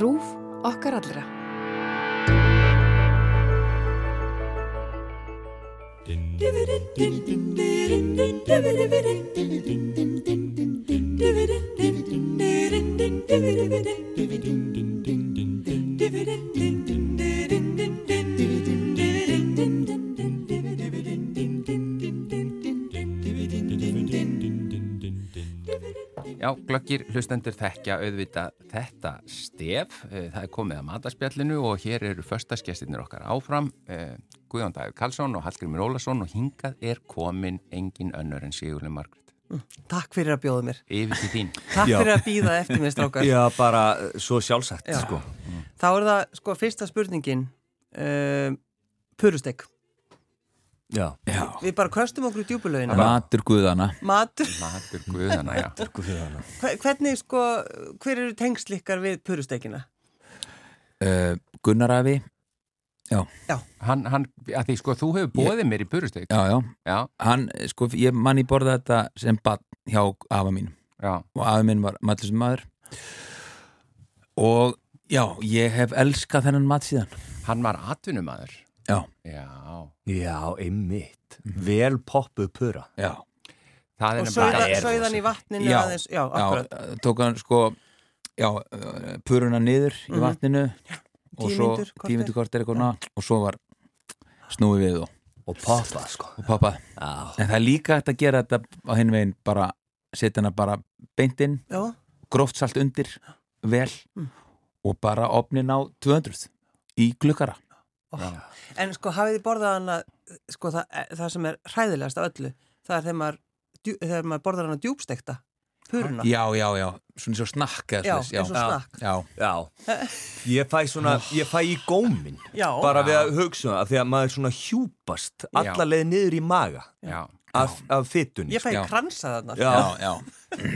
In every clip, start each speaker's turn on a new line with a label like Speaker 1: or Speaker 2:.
Speaker 1: Rúf okkar allra.
Speaker 2: Já, glöggir hlustendur þekkja auðvita þetta stef. Eh, Það er komið að mataspjallinu og hér eru förstaskjæstirnir okkar áfram. eh, Guðjón Davíð Karlsson og Hallgrimur Ólason og hingað er komin engin önnur en Sigurli Margrét.
Speaker 3: Takk fyrir að bjóða mér.
Speaker 2: Yfir til þín.
Speaker 3: Takk
Speaker 4: Já.
Speaker 3: fyrir að býða eftir mér, strákar.
Speaker 4: Já, bara eh, svo sjálfsagt,
Speaker 3: Já.
Speaker 4: sko.
Speaker 3: Þá er það, sko, fyrsta spurningin. Uh, Purustek.
Speaker 4: Já. Já.
Speaker 3: Við bara köstum okkur í djúbulögina.
Speaker 5: Matur guðana
Speaker 3: Matur.
Speaker 2: Matur Guðana, já.
Speaker 3: Hve- Hvernig, sko, hver eru tengsl ykkar við purustekina?
Speaker 5: uh, Gunnarafi
Speaker 2: Hann, hann, að því sko, þú hefur bóðið mér í purusteg.
Speaker 5: Já, já
Speaker 2: Já,
Speaker 5: Hann, eh, sko, ég manni borða þetta sem bann hjá afa mínum
Speaker 2: já.
Speaker 5: og afi minn var matlisum maður og já, ég hef elskað þennan mat síðan
Speaker 2: Hann var atvinnumæður.
Speaker 5: Já,
Speaker 2: Já.
Speaker 4: Já, einmitt. Vel poppuð pura.
Speaker 5: já
Speaker 2: Það er
Speaker 3: Og
Speaker 2: nefnilega-
Speaker 3: sauða-
Speaker 4: er
Speaker 3: sauðan í vatninu
Speaker 5: Já.
Speaker 3: aðeins. Já,
Speaker 5: já,
Speaker 3: akkurat.
Speaker 5: tók hann sko já, eh, puruna niður í
Speaker 3: Mhm.
Speaker 5: vatninu og
Speaker 3: Tíu
Speaker 5: svo
Speaker 3: mínútur, korter.
Speaker 5: tímindur kortir eitthvað svona, og svo var snúið við og,
Speaker 4: Og poppað, sko.
Speaker 5: og pappað
Speaker 4: Já.
Speaker 5: en það er líka hægt að gera þetta á hinn veginn bara, setja hana bara beint inn
Speaker 3: Já.
Speaker 5: gróft salt undir, vel
Speaker 3: Mm.
Speaker 5: og bara opnin á 200 í glukkara
Speaker 3: En sko, hafið þið borðað hana, sko, það, það sem er hræðilegast af öllu, það er þegar maður, djú- þegar maður borðar hana djúbstekta, puruna.
Speaker 5: já, já, já, svona eins og snakk eða
Speaker 3: Já,
Speaker 5: svoleiðis,
Speaker 3: eins og snakk.
Speaker 5: já,
Speaker 4: Já. Ég fæ svona, ég fæ í gómin.
Speaker 3: Já.
Speaker 4: Bara við að hugsa um það, því að maður svona hjúpast alla leið niður í maga
Speaker 2: Já.
Speaker 4: af, af fytunni.
Speaker 3: Ég fæ
Speaker 5: Já.
Speaker 3: kransað þarna.
Speaker 4: Já.
Speaker 5: já, já,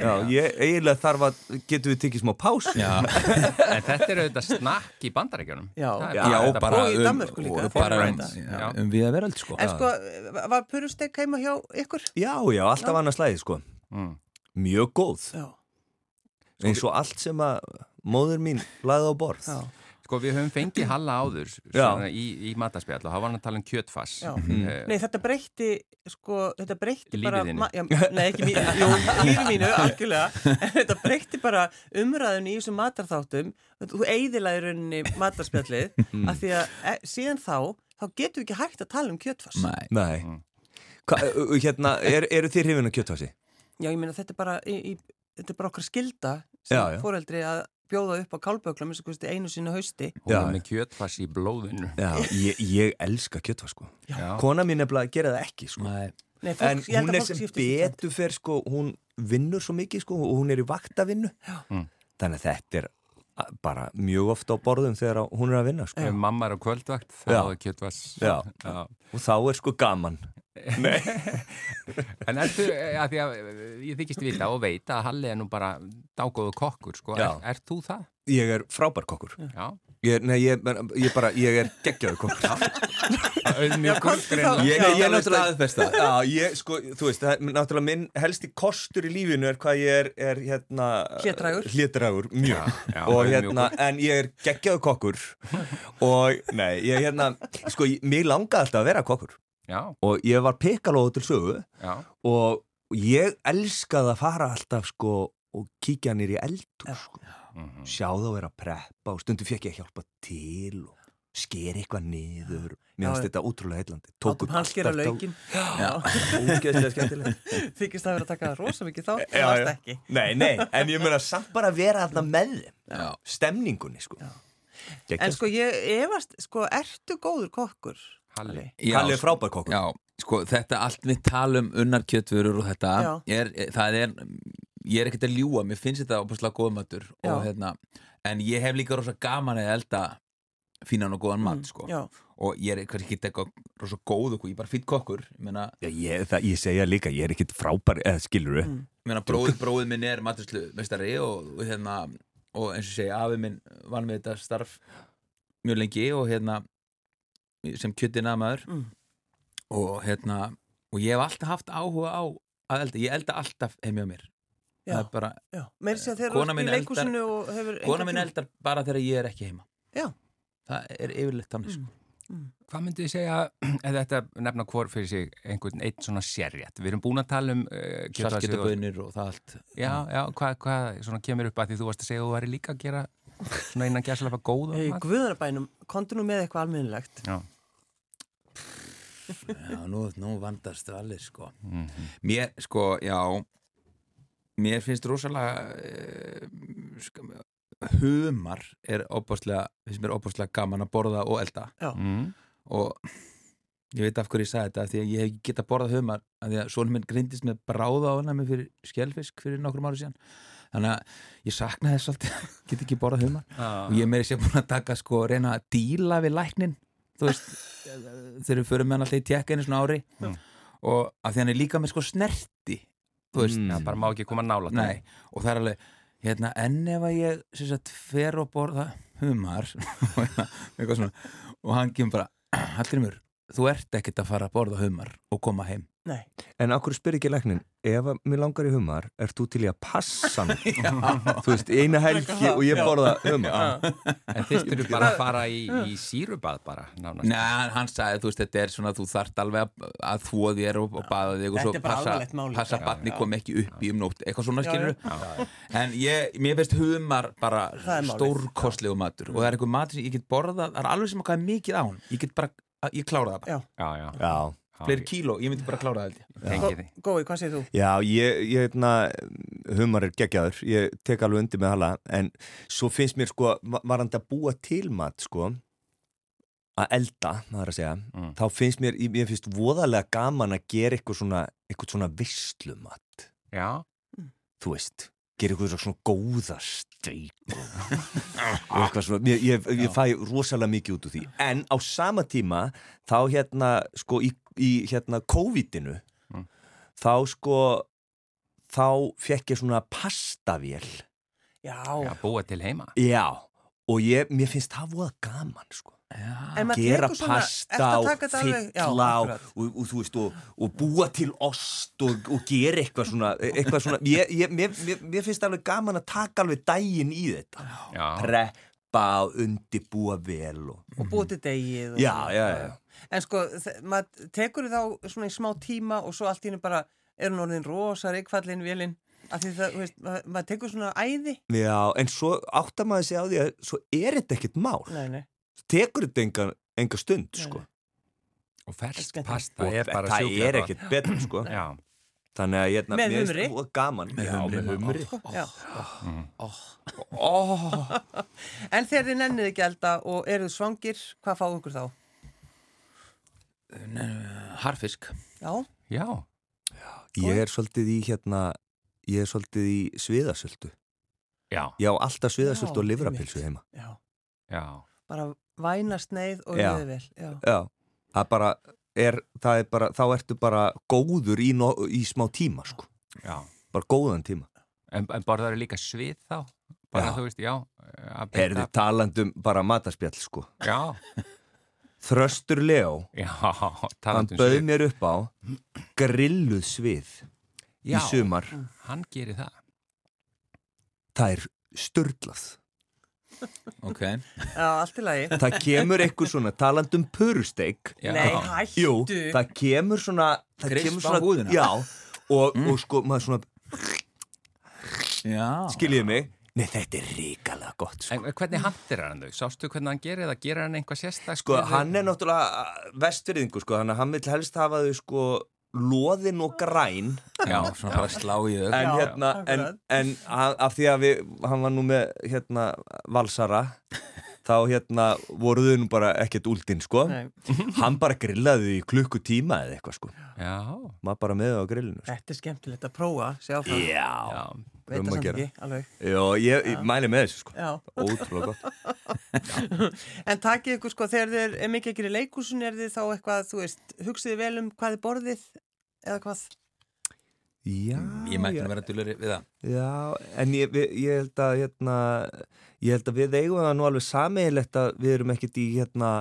Speaker 4: Já, ég eiginlega þarf að, getum við tekið smá pásu?
Speaker 5: já.
Speaker 2: En þetta er auðvitað snakk í bandarækjunum.
Speaker 3: Já.
Speaker 2: Það er
Speaker 4: Já,
Speaker 5: Já,
Speaker 2: þetta-
Speaker 5: bara
Speaker 3: Og í
Speaker 5: um,
Speaker 3: Danmörku líka,
Speaker 5: og
Speaker 3: þeir
Speaker 5: bara
Speaker 3: eru
Speaker 5: um,
Speaker 3: þetta.
Speaker 5: já,
Speaker 2: Já.
Speaker 5: um viða veröld sko.
Speaker 3: En sko, var purustek heima hjá ykkur?
Speaker 4: Já, já, alltaf annars læði, sko.
Speaker 2: Mm.
Speaker 4: Mjög góð.
Speaker 3: Já.
Speaker 4: Eins og allt sem að móður mín læði á borð.
Speaker 3: Já.
Speaker 2: Sko við höfum fengið Halla áður svona, í, í mataspjall og þá var hann að tala um kjötfass
Speaker 3: Já.
Speaker 4: Mhm.
Speaker 2: Eh,
Speaker 3: Nei, þetta breytti, sko, þetta breytti
Speaker 2: Lífi
Speaker 3: bara...
Speaker 2: þínu.
Speaker 3: ma- Já, nei, ekki mínu, jú, lífi mínu, algjörlega. En þetta breytti bara umræðunni í þessum matarþáttum. Þú eiðilaði rauninni matarspjallið,
Speaker 4: Mhm.
Speaker 3: af því að e, síðan þá, þá getum við ekki hægt að tala um kjötfass.
Speaker 5: Nei,
Speaker 4: Nei.
Speaker 3: Mm.
Speaker 4: Hva, hérna, er, eru þið hrifin að kjötfasi?
Speaker 3: Já, ég meina, þetta er bara, í, í, þetta er bara okkar skilda
Speaker 4: Já, já.
Speaker 3: sem fóreldri að bjóða upp á kálbökla, minnst að kosti einu sínu hausti.
Speaker 2: hún
Speaker 4: Já.
Speaker 2: var með kjötfass í blóðinu
Speaker 4: Já, ég, ég elska kjötfas, sko.
Speaker 2: Já.
Speaker 4: Kona mín er bara að gera það ekki, sko.
Speaker 5: nei,
Speaker 3: Nei, fólk,
Speaker 4: En
Speaker 3: ég held að
Speaker 4: hún er
Speaker 3: fólk
Speaker 4: sem
Speaker 3: skiptist í tvennt.
Speaker 4: betur fer, sko, hún vinnur svo mikið, sko, og hún er í vaktavinnu.
Speaker 2: Mm.
Speaker 4: Þannig að þetta er a- bara mjög ofta á borðum þegar að- hún er að vinna, sko.
Speaker 2: Ef mamma er á kvöldvakt þá
Speaker 4: Já.
Speaker 2: er kjötfass
Speaker 4: Já.
Speaker 2: Já.
Speaker 4: Og þá er sko gaman.
Speaker 2: En ertu, eh, af því að eh, ég þykist vita og veit að Halli er nú bara dágóðu kokkur sko.
Speaker 4: Já.
Speaker 2: er, er þú það?
Speaker 4: Ég er frábær kokkur.
Speaker 2: Já,
Speaker 4: Ég, nei, ég, ég bara, ég er geggjaður kokkur.
Speaker 2: auðmjögur
Speaker 3: komdu þá.
Speaker 2: greinlega
Speaker 3: Já,
Speaker 4: Ég, ég,
Speaker 3: það
Speaker 4: ég
Speaker 3: er
Speaker 4: náttúrulega aðfesta Já, ég, sko, þú veist, það, er náttúrulega minn helsti kostur í lífinu er hvað ég er, er hérna
Speaker 3: Hlédrægur.
Speaker 4: Hlédrægur, mjög
Speaker 2: já,
Speaker 4: Og
Speaker 2: mjög
Speaker 4: hérna, en ég er geggjaðu kokkur Og, nei, ég hérna Sko, ég- mig langaði alltaf að vera kokkur
Speaker 2: Já,
Speaker 4: Og ég var pekalóðu til sögu
Speaker 2: já,
Speaker 4: Og ég elskaði að fara alltaf, sko Og kíkja nýr í eldur, sko
Speaker 2: mhm.
Speaker 4: Sjá þá vera að preppa Og stundum fekk ég að hjálpa til Og sker eitthvað niður
Speaker 3: Já,
Speaker 4: Mér finnst
Speaker 3: já.
Speaker 4: þetta útrúlega heillandi
Speaker 3: Látum hann skera laukin
Speaker 4: Ógeðslega skemmtilegt
Speaker 3: Þykist það vera að taka rosa mikið þá
Speaker 4: Já,
Speaker 3: Það varst
Speaker 4: já.
Speaker 3: ekki
Speaker 4: Nei, nei, en ég meina samt bara að vera þarna með þeim
Speaker 5: Já.
Speaker 4: Stemningunni, sko
Speaker 3: En sko ég efast, sko ertu góður kokkur?
Speaker 2: Halli
Speaker 5: já,
Speaker 4: Hann er frábær kokkur
Speaker 5: já, sko, þetta allt mitt tal um unnar kjötvörur og þetta
Speaker 3: Já.
Speaker 5: er, eh, það er ég er ekkert að ljúa, mér finnst þetta opaslega góðmatur og
Speaker 3: Já.
Speaker 5: hérna, en ég hef líka rosa gaman að elda fínan og góðan mat, sko
Speaker 3: Mm, Já,
Speaker 5: og ég er kannski ekki eitthvað rosa góð okkur, ég er bara fýtt kokkur ég meina,
Speaker 4: Já, ég, það, ég segja líka, ég er ekkit frábær eða skilur við
Speaker 5: ég meina bróð, bróð minn er maturslu mestari og, og hérna og eins og segja, afi minn var með þetta starf mjög lengi og hérna sem kjötina maður
Speaker 3: Mm.
Speaker 5: og hérna og ég hef alltaf haft áhuga á að elda, ég elda alltaf heimja mér það er bara,
Speaker 3: já. Meir sé að þeirra
Speaker 5: Kona
Speaker 3: eru
Speaker 5: mín
Speaker 3: í
Speaker 5: eldar-
Speaker 3: leikhúsinu og hefur
Speaker 5: kona
Speaker 3: engan
Speaker 5: minn
Speaker 3: tíma.
Speaker 5: eldar bara þegar ég er ekki heima
Speaker 3: Já. Mm.
Speaker 5: það er yfirleitt þannig sko.
Speaker 2: Hvað myndið þið segja, eða þetta nefna hvort fyrir sig einhvern einn svona sérjætt? Við erum búin að tala um uh, kjötlasið og-
Speaker 5: saltgetabönir og það allt
Speaker 2: Já, já, hvað, hvað svona kemur upp að því þú varst að segja að þú væri líka að gera svona innan gæslepa góða
Speaker 3: Hey,
Speaker 2: mat?
Speaker 3: Guðanabænum, kontu nú með eitthvað almennilegt
Speaker 2: Já,
Speaker 5: já, nú, nú vandast allir sko mér, sko, já mér finnst rosalega eh, sko, humar er opaslega finnst mér opaslega gaman að borða og elda
Speaker 2: mm.
Speaker 5: og ég veit af hverju ég sagði þetta af því að ég hef ekki getað borðað humar af því að svona minn grindist með bráða ánæmi fyrir skelfisk fyrir nokkrum ára síðan þannig að ég sakna þess alltaf get ekki borðað humar og ég er meiri sér búin að taka sko reyna að díla við læknin þú veist, þegar við förum með hann alltaf í tjekka einu svona ári
Speaker 2: Mm.
Speaker 5: og af því hann er líka með sko snerti þú
Speaker 3: Mm,
Speaker 5: veist,
Speaker 2: Já, bara má ekki koma nála
Speaker 5: nei og það er alveg, hérna, enn ef að ég sem sagt, fer og borða humar og hérna, eitthvað svona og hann kemur bara, Hallgrímur þú ert ekkert að fara að borða humar og koma heim
Speaker 3: Nei,
Speaker 4: En akkur spyr ekki læknin, ef að mér langar í humar, ert þú til í að passa hann? þú veist, í eina helgi og ég borða humar.
Speaker 2: En þið styrir bara að fara í, í sírubað bara, nánast
Speaker 5: Nei, hann- hann sagði, þú veist, þetta er svona þú þart alveg að, að þvó þér og, og baða þig og
Speaker 3: Þetta
Speaker 5: svo
Speaker 3: er bara alvarlegt mál líka.
Speaker 2: Já,
Speaker 5: passa að batni
Speaker 2: já.
Speaker 5: kom ekki upp í um nótt eitthvað svona
Speaker 3: Já,
Speaker 5: skilur en ég, mér finnst humar bara
Speaker 3: Það er málið.
Speaker 5: stórkostlegu matur og það er eitthvað matur sem ég get borðað það er alveg sem að hvað er mikið á hann ég get bara, að- ég klára það bara,
Speaker 3: já,
Speaker 2: Já, já, já,
Speaker 4: Já,
Speaker 5: fleiri kíló, ég myndi bara klára það held ég
Speaker 2: tengi því
Speaker 3: gói, hvað segir þú?
Speaker 4: já, ég, ég hérna, humar er geggjaður, ég tek alveg undir með hala, en svo finnst mér sko, va- varandi að búa til mat sko, að elda, það er að segja,
Speaker 2: Mm.
Speaker 4: þá finnst mér, ég finnst voðalega gaman að gera eitthvað svona, eitthvað svona vislumat.
Speaker 2: Já,
Speaker 4: þú veist gera eitthvað svona góða steik og og eitthvað svona ég, ég, ég fæ rosalega mikið út úr því en á sama tíma þá hérna sko í, í hérna COVID-inu
Speaker 2: Mm.
Speaker 4: þá sko þá fekk ég svona pastavél
Speaker 3: Já,
Speaker 2: já, búa til heima
Speaker 4: já og ég, mér finnst það voða gaman sko
Speaker 3: en maður
Speaker 4: gera
Speaker 3: tekur svona- ertu
Speaker 4: pasta
Speaker 3: að
Speaker 4: og
Speaker 3: taka þetta alveg- já,
Speaker 4: fylla og,
Speaker 3: akkurat.
Speaker 4: og, og, þú veist, og, og búa til ost og, og gera eitthvað svona, eitthvað svona ég, ég, mér, mér, mér finnst alveg gaman að taka alveg daginn í þetta
Speaker 2: Já,
Speaker 4: preppa og undibúa vel og,
Speaker 3: og búið til degið
Speaker 2: Mm.
Speaker 3: og-
Speaker 4: já, já, já,
Speaker 3: En sko, þe- maður tekur þá svona í smá tíma og svo allt í henni bara er hún orðin rosa reikfallin vélinn af því það, þú veist, ma- maður tekur svona æði
Speaker 4: já en svo áttar maður sig á því að svo er þetta ekkert mál
Speaker 3: Nei, nei,
Speaker 4: tekur þetta enga, enga stund
Speaker 3: Nei,
Speaker 4: sko.
Speaker 2: og fersk
Speaker 3: Skemmtilegt.
Speaker 2: pasta er bara
Speaker 4: það
Speaker 2: sjúklega
Speaker 4: er
Speaker 2: gott.
Speaker 4: ekkert betur sko.
Speaker 2: Já,
Speaker 4: þannig að
Speaker 3: Með
Speaker 4: hérna, mér finnst
Speaker 3: humri.
Speaker 4: það voða gaman já, með humri
Speaker 3: sko, já
Speaker 4: oh.
Speaker 3: En þegar þið nennið ekki elda og eruð svangir, hvað fáið ykkur þá?
Speaker 5: harfisk,
Speaker 3: Já,
Speaker 2: já,
Speaker 4: Ég er svolítið í hérna ég er svolítið í sviðasöldu
Speaker 2: já,
Speaker 4: Já, alltaf sviðasöldu
Speaker 3: Já,
Speaker 4: og livrapilsu
Speaker 3: einmitt.
Speaker 4: heima
Speaker 3: já,
Speaker 2: já
Speaker 3: bara vænast neyð og
Speaker 4: Já.
Speaker 3: rauðið vel Já,
Speaker 4: Já, það bara er, það er bara, þá ertu bara góður í, no, í smá tíma sko.
Speaker 2: Já,
Speaker 4: bara góðan tíma
Speaker 2: en, en borðar eru líka svið þá bara
Speaker 4: Já.
Speaker 2: þú veist, já að beita-
Speaker 4: Herði talandum um bara mataspjall sko.
Speaker 2: Já,
Speaker 4: Þröstur Leo,
Speaker 2: já,
Speaker 4: hann
Speaker 2: talandi um
Speaker 4: bauð
Speaker 2: svið.
Speaker 4: mér upp á grilluð svið
Speaker 2: Já,
Speaker 4: í sumar
Speaker 2: hann gerir það
Speaker 4: Það er sturglað
Speaker 5: ok
Speaker 3: já allt í lagi
Speaker 4: Það kemur eitthvað svona um talandum purusteik
Speaker 2: Já.
Speaker 3: Nei, hættu
Speaker 4: Jú, það kemur svona það
Speaker 5: Krisp
Speaker 4: kemur
Speaker 5: á húðina. Mm.
Speaker 4: Já, og, og sko, maður svona
Speaker 5: já,
Speaker 4: skiljiði mig Nei, þetta er ríkalega gott sko.
Speaker 2: En hvernig handir hann þau? Sástu hvernig hann gerir það? Gerir hann einhvað sérstak?
Speaker 4: sko, hann er náttúrulega vestfyrðingu sko, þannig að hann vil helst hafa þau sko loðin og græn
Speaker 5: já, svona bara slá í þau
Speaker 4: en,
Speaker 3: Já,
Speaker 4: hérna, en,
Speaker 3: akkurat.
Speaker 4: en a- af því að við, hann var nú með hérna, valsara þá hérna voru þau nú bara ekkert úldinn sko
Speaker 3: Nei,
Speaker 4: hann bara grillaði þau í klukkutíma eða eitthvað sko,
Speaker 2: Já,
Speaker 4: maður bara með þau á grillinu sko.
Speaker 3: þetta er skemmtilegt að prófa sjá frá,
Speaker 4: já,
Speaker 2: já,
Speaker 3: veit
Speaker 4: um
Speaker 3: það
Speaker 4: að
Speaker 3: samt
Speaker 4: gera.
Speaker 3: ekki, alveg
Speaker 4: já ég, ég mæli með þessu sko
Speaker 3: Já,
Speaker 4: ótrúlega gott
Speaker 3: en takið ykkur sko þegar þið er mikið ekki í leikúsin er þið þá eitthvað, þú veist, hugsið vel um hvað þið borðið eða hvað
Speaker 4: já,
Speaker 5: ég mætti
Speaker 4: já.
Speaker 5: að vera dulur við það
Speaker 4: Já, en ég, við- ég held að hérna, ég held að við eigum það nú alveg sameigilegt að við erum ekkert í hérna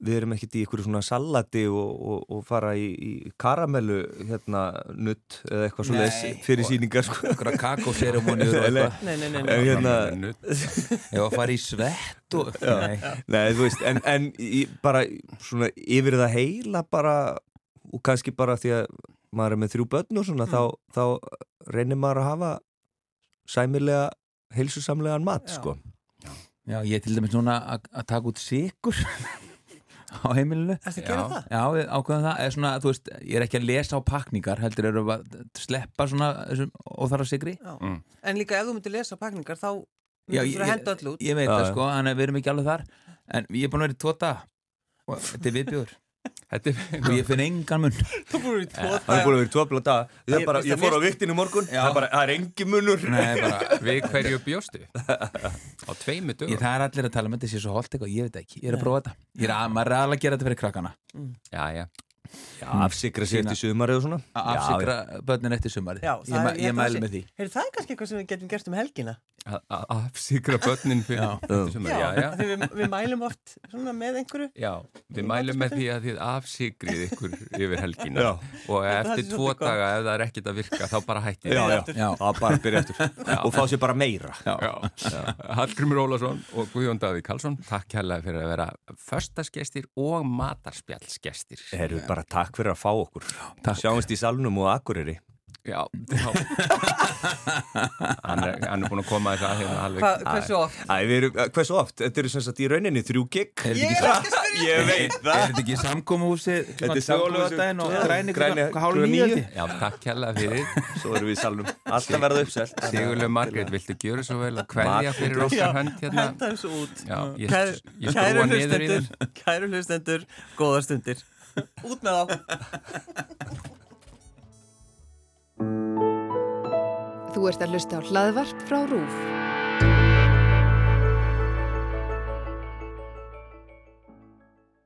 Speaker 4: við erum ekkert í ykkur svona salati og, og, og fara í, í karamellu hérna nutt eða eitthvað svo
Speaker 5: Nei.
Speaker 4: leis fyrir síningar sko.
Speaker 5: Einhverja kakóseremoni og eitthvað
Speaker 3: Nei, nei,
Speaker 2: Eh,
Speaker 3: nei,
Speaker 4: En
Speaker 3: nei.
Speaker 4: hérna,
Speaker 5: Ég var að fara í svett og Nei,
Speaker 4: nei, þú veist, en, en í, bara svona yfir það heila bara og kannski bara því að maður er með þrjú börn og svona
Speaker 5: Mm.
Speaker 4: þá, þá reynir maður að hafa sæmilega, heilsusamlegan mat
Speaker 3: Já.
Speaker 4: sko.
Speaker 5: Já, ég er til dæmis núna að að taka út sigur á heimilinu
Speaker 3: Ertu að gera
Speaker 2: Já.
Speaker 3: það?
Speaker 5: Já, við ákveðum það, eða svona, þú veist, ég er ekki að lesa á pakningar, heldur eru að sleppa svona þessum óþara sigri
Speaker 3: Já.
Speaker 2: Mm.
Speaker 3: En líka ef þú myndir lesa pakningar þá
Speaker 5: Já,
Speaker 3: myndir þú
Speaker 5: ég-
Speaker 3: þurfa að henda öll út.
Speaker 5: Ég veit
Speaker 4: Já,
Speaker 5: það
Speaker 4: já.
Speaker 5: sko, þannig að við erum ekki alveg þar En ég er búin að vera í tvo dag og þetta er viðbjóður
Speaker 2: Þetta
Speaker 5: og ég finn engan mun
Speaker 3: Þú búið í tvo
Speaker 4: Það er búin að vera tvoðbla dag Ég,
Speaker 3: Ég-
Speaker 4: bara,
Speaker 3: veist
Speaker 4: ég
Speaker 3: það
Speaker 4: fór á
Speaker 3: mest-
Speaker 4: viktinu morgun það er, bara, það er engi munur
Speaker 5: Nei, bara,
Speaker 2: er við hverju bjóstu á tveimu
Speaker 5: ég,
Speaker 2: dögum.
Speaker 5: það er allir að tala um þetta sé svo holt eitthvað, ég veit það ekki, ég er að prófa þetta Ég er að, maður er alveg að gera þetta fyrir krakkana
Speaker 2: Já, já.
Speaker 4: Já, Afsikra sér
Speaker 5: Sýna.
Speaker 4: til sumar eða svona
Speaker 5: að afsikra börnin eftir sumarið
Speaker 3: Já,
Speaker 5: Ég, ma- ég mæli með því
Speaker 3: Heyrðu, það er kannski eitthvað sem við getum gert um helgina.
Speaker 2: Að- að afsýkra börnin fyrir
Speaker 5: Já.
Speaker 2: þetta sumar. Já, já.
Speaker 3: af því Við, við mælum oft svona með einhverju.
Speaker 2: Já, við mælum með því að þið afsigrið ykkur yfir helgina
Speaker 4: Já.
Speaker 2: og eftir
Speaker 3: sé svolítið
Speaker 2: tvo
Speaker 3: gott.
Speaker 2: daga ef það er ekkert að virka þá bara hætti
Speaker 4: Já,
Speaker 2: þið.
Speaker 4: já,
Speaker 5: Já.
Speaker 4: það er bara að byrja eftir og fá sér bara meira
Speaker 2: Já. Hallgrimur Ólason og Guðjón Davík Karlsson, takk hérlega fyrir að vera förstasgestir og matarspjallsgestir.
Speaker 4: Herru, bara takk fyrir að fá okkur
Speaker 5: Takk.
Speaker 4: Sjáumst í salnum og akkuriri
Speaker 2: Já, já. hann, er, hann er búin að koma þess að hérna alveg.
Speaker 3: Hva, hversu oft?
Speaker 4: Æ, við erum, hversu oft? Þetta eru sem sagt í rauninni þrjú gig
Speaker 5: Er þetta
Speaker 3: Ég er
Speaker 5: ekki sa-
Speaker 3: ekki að spyrja.
Speaker 4: Ég veit
Speaker 5: er þetta ekki samkómuhúsi
Speaker 4: Þetta er samkomuhúsið
Speaker 5: og
Speaker 4: tvö-
Speaker 5: græni
Speaker 4: græni
Speaker 5: hálf
Speaker 4: klukkan
Speaker 5: nýja
Speaker 4: níu.
Speaker 2: Já, takk hérlega fyrir.
Speaker 4: Svo erum við í salnum Alltaf verða uppselt
Speaker 2: Sigurlega Margrét, viltu gjöra svo vel að hverja fyrir okkar hönd
Speaker 3: Já,
Speaker 2: hérna?
Speaker 3: Henda þessu út.
Speaker 2: Já, ég-
Speaker 3: Kæru-
Speaker 2: ég skrúa
Speaker 3: kæru
Speaker 2: niður í
Speaker 3: hlustendur, kæru hlustendur, góða stundir. Út með þá.
Speaker 1: Þú ert að hlusta á hlaðvarp frá RÚF.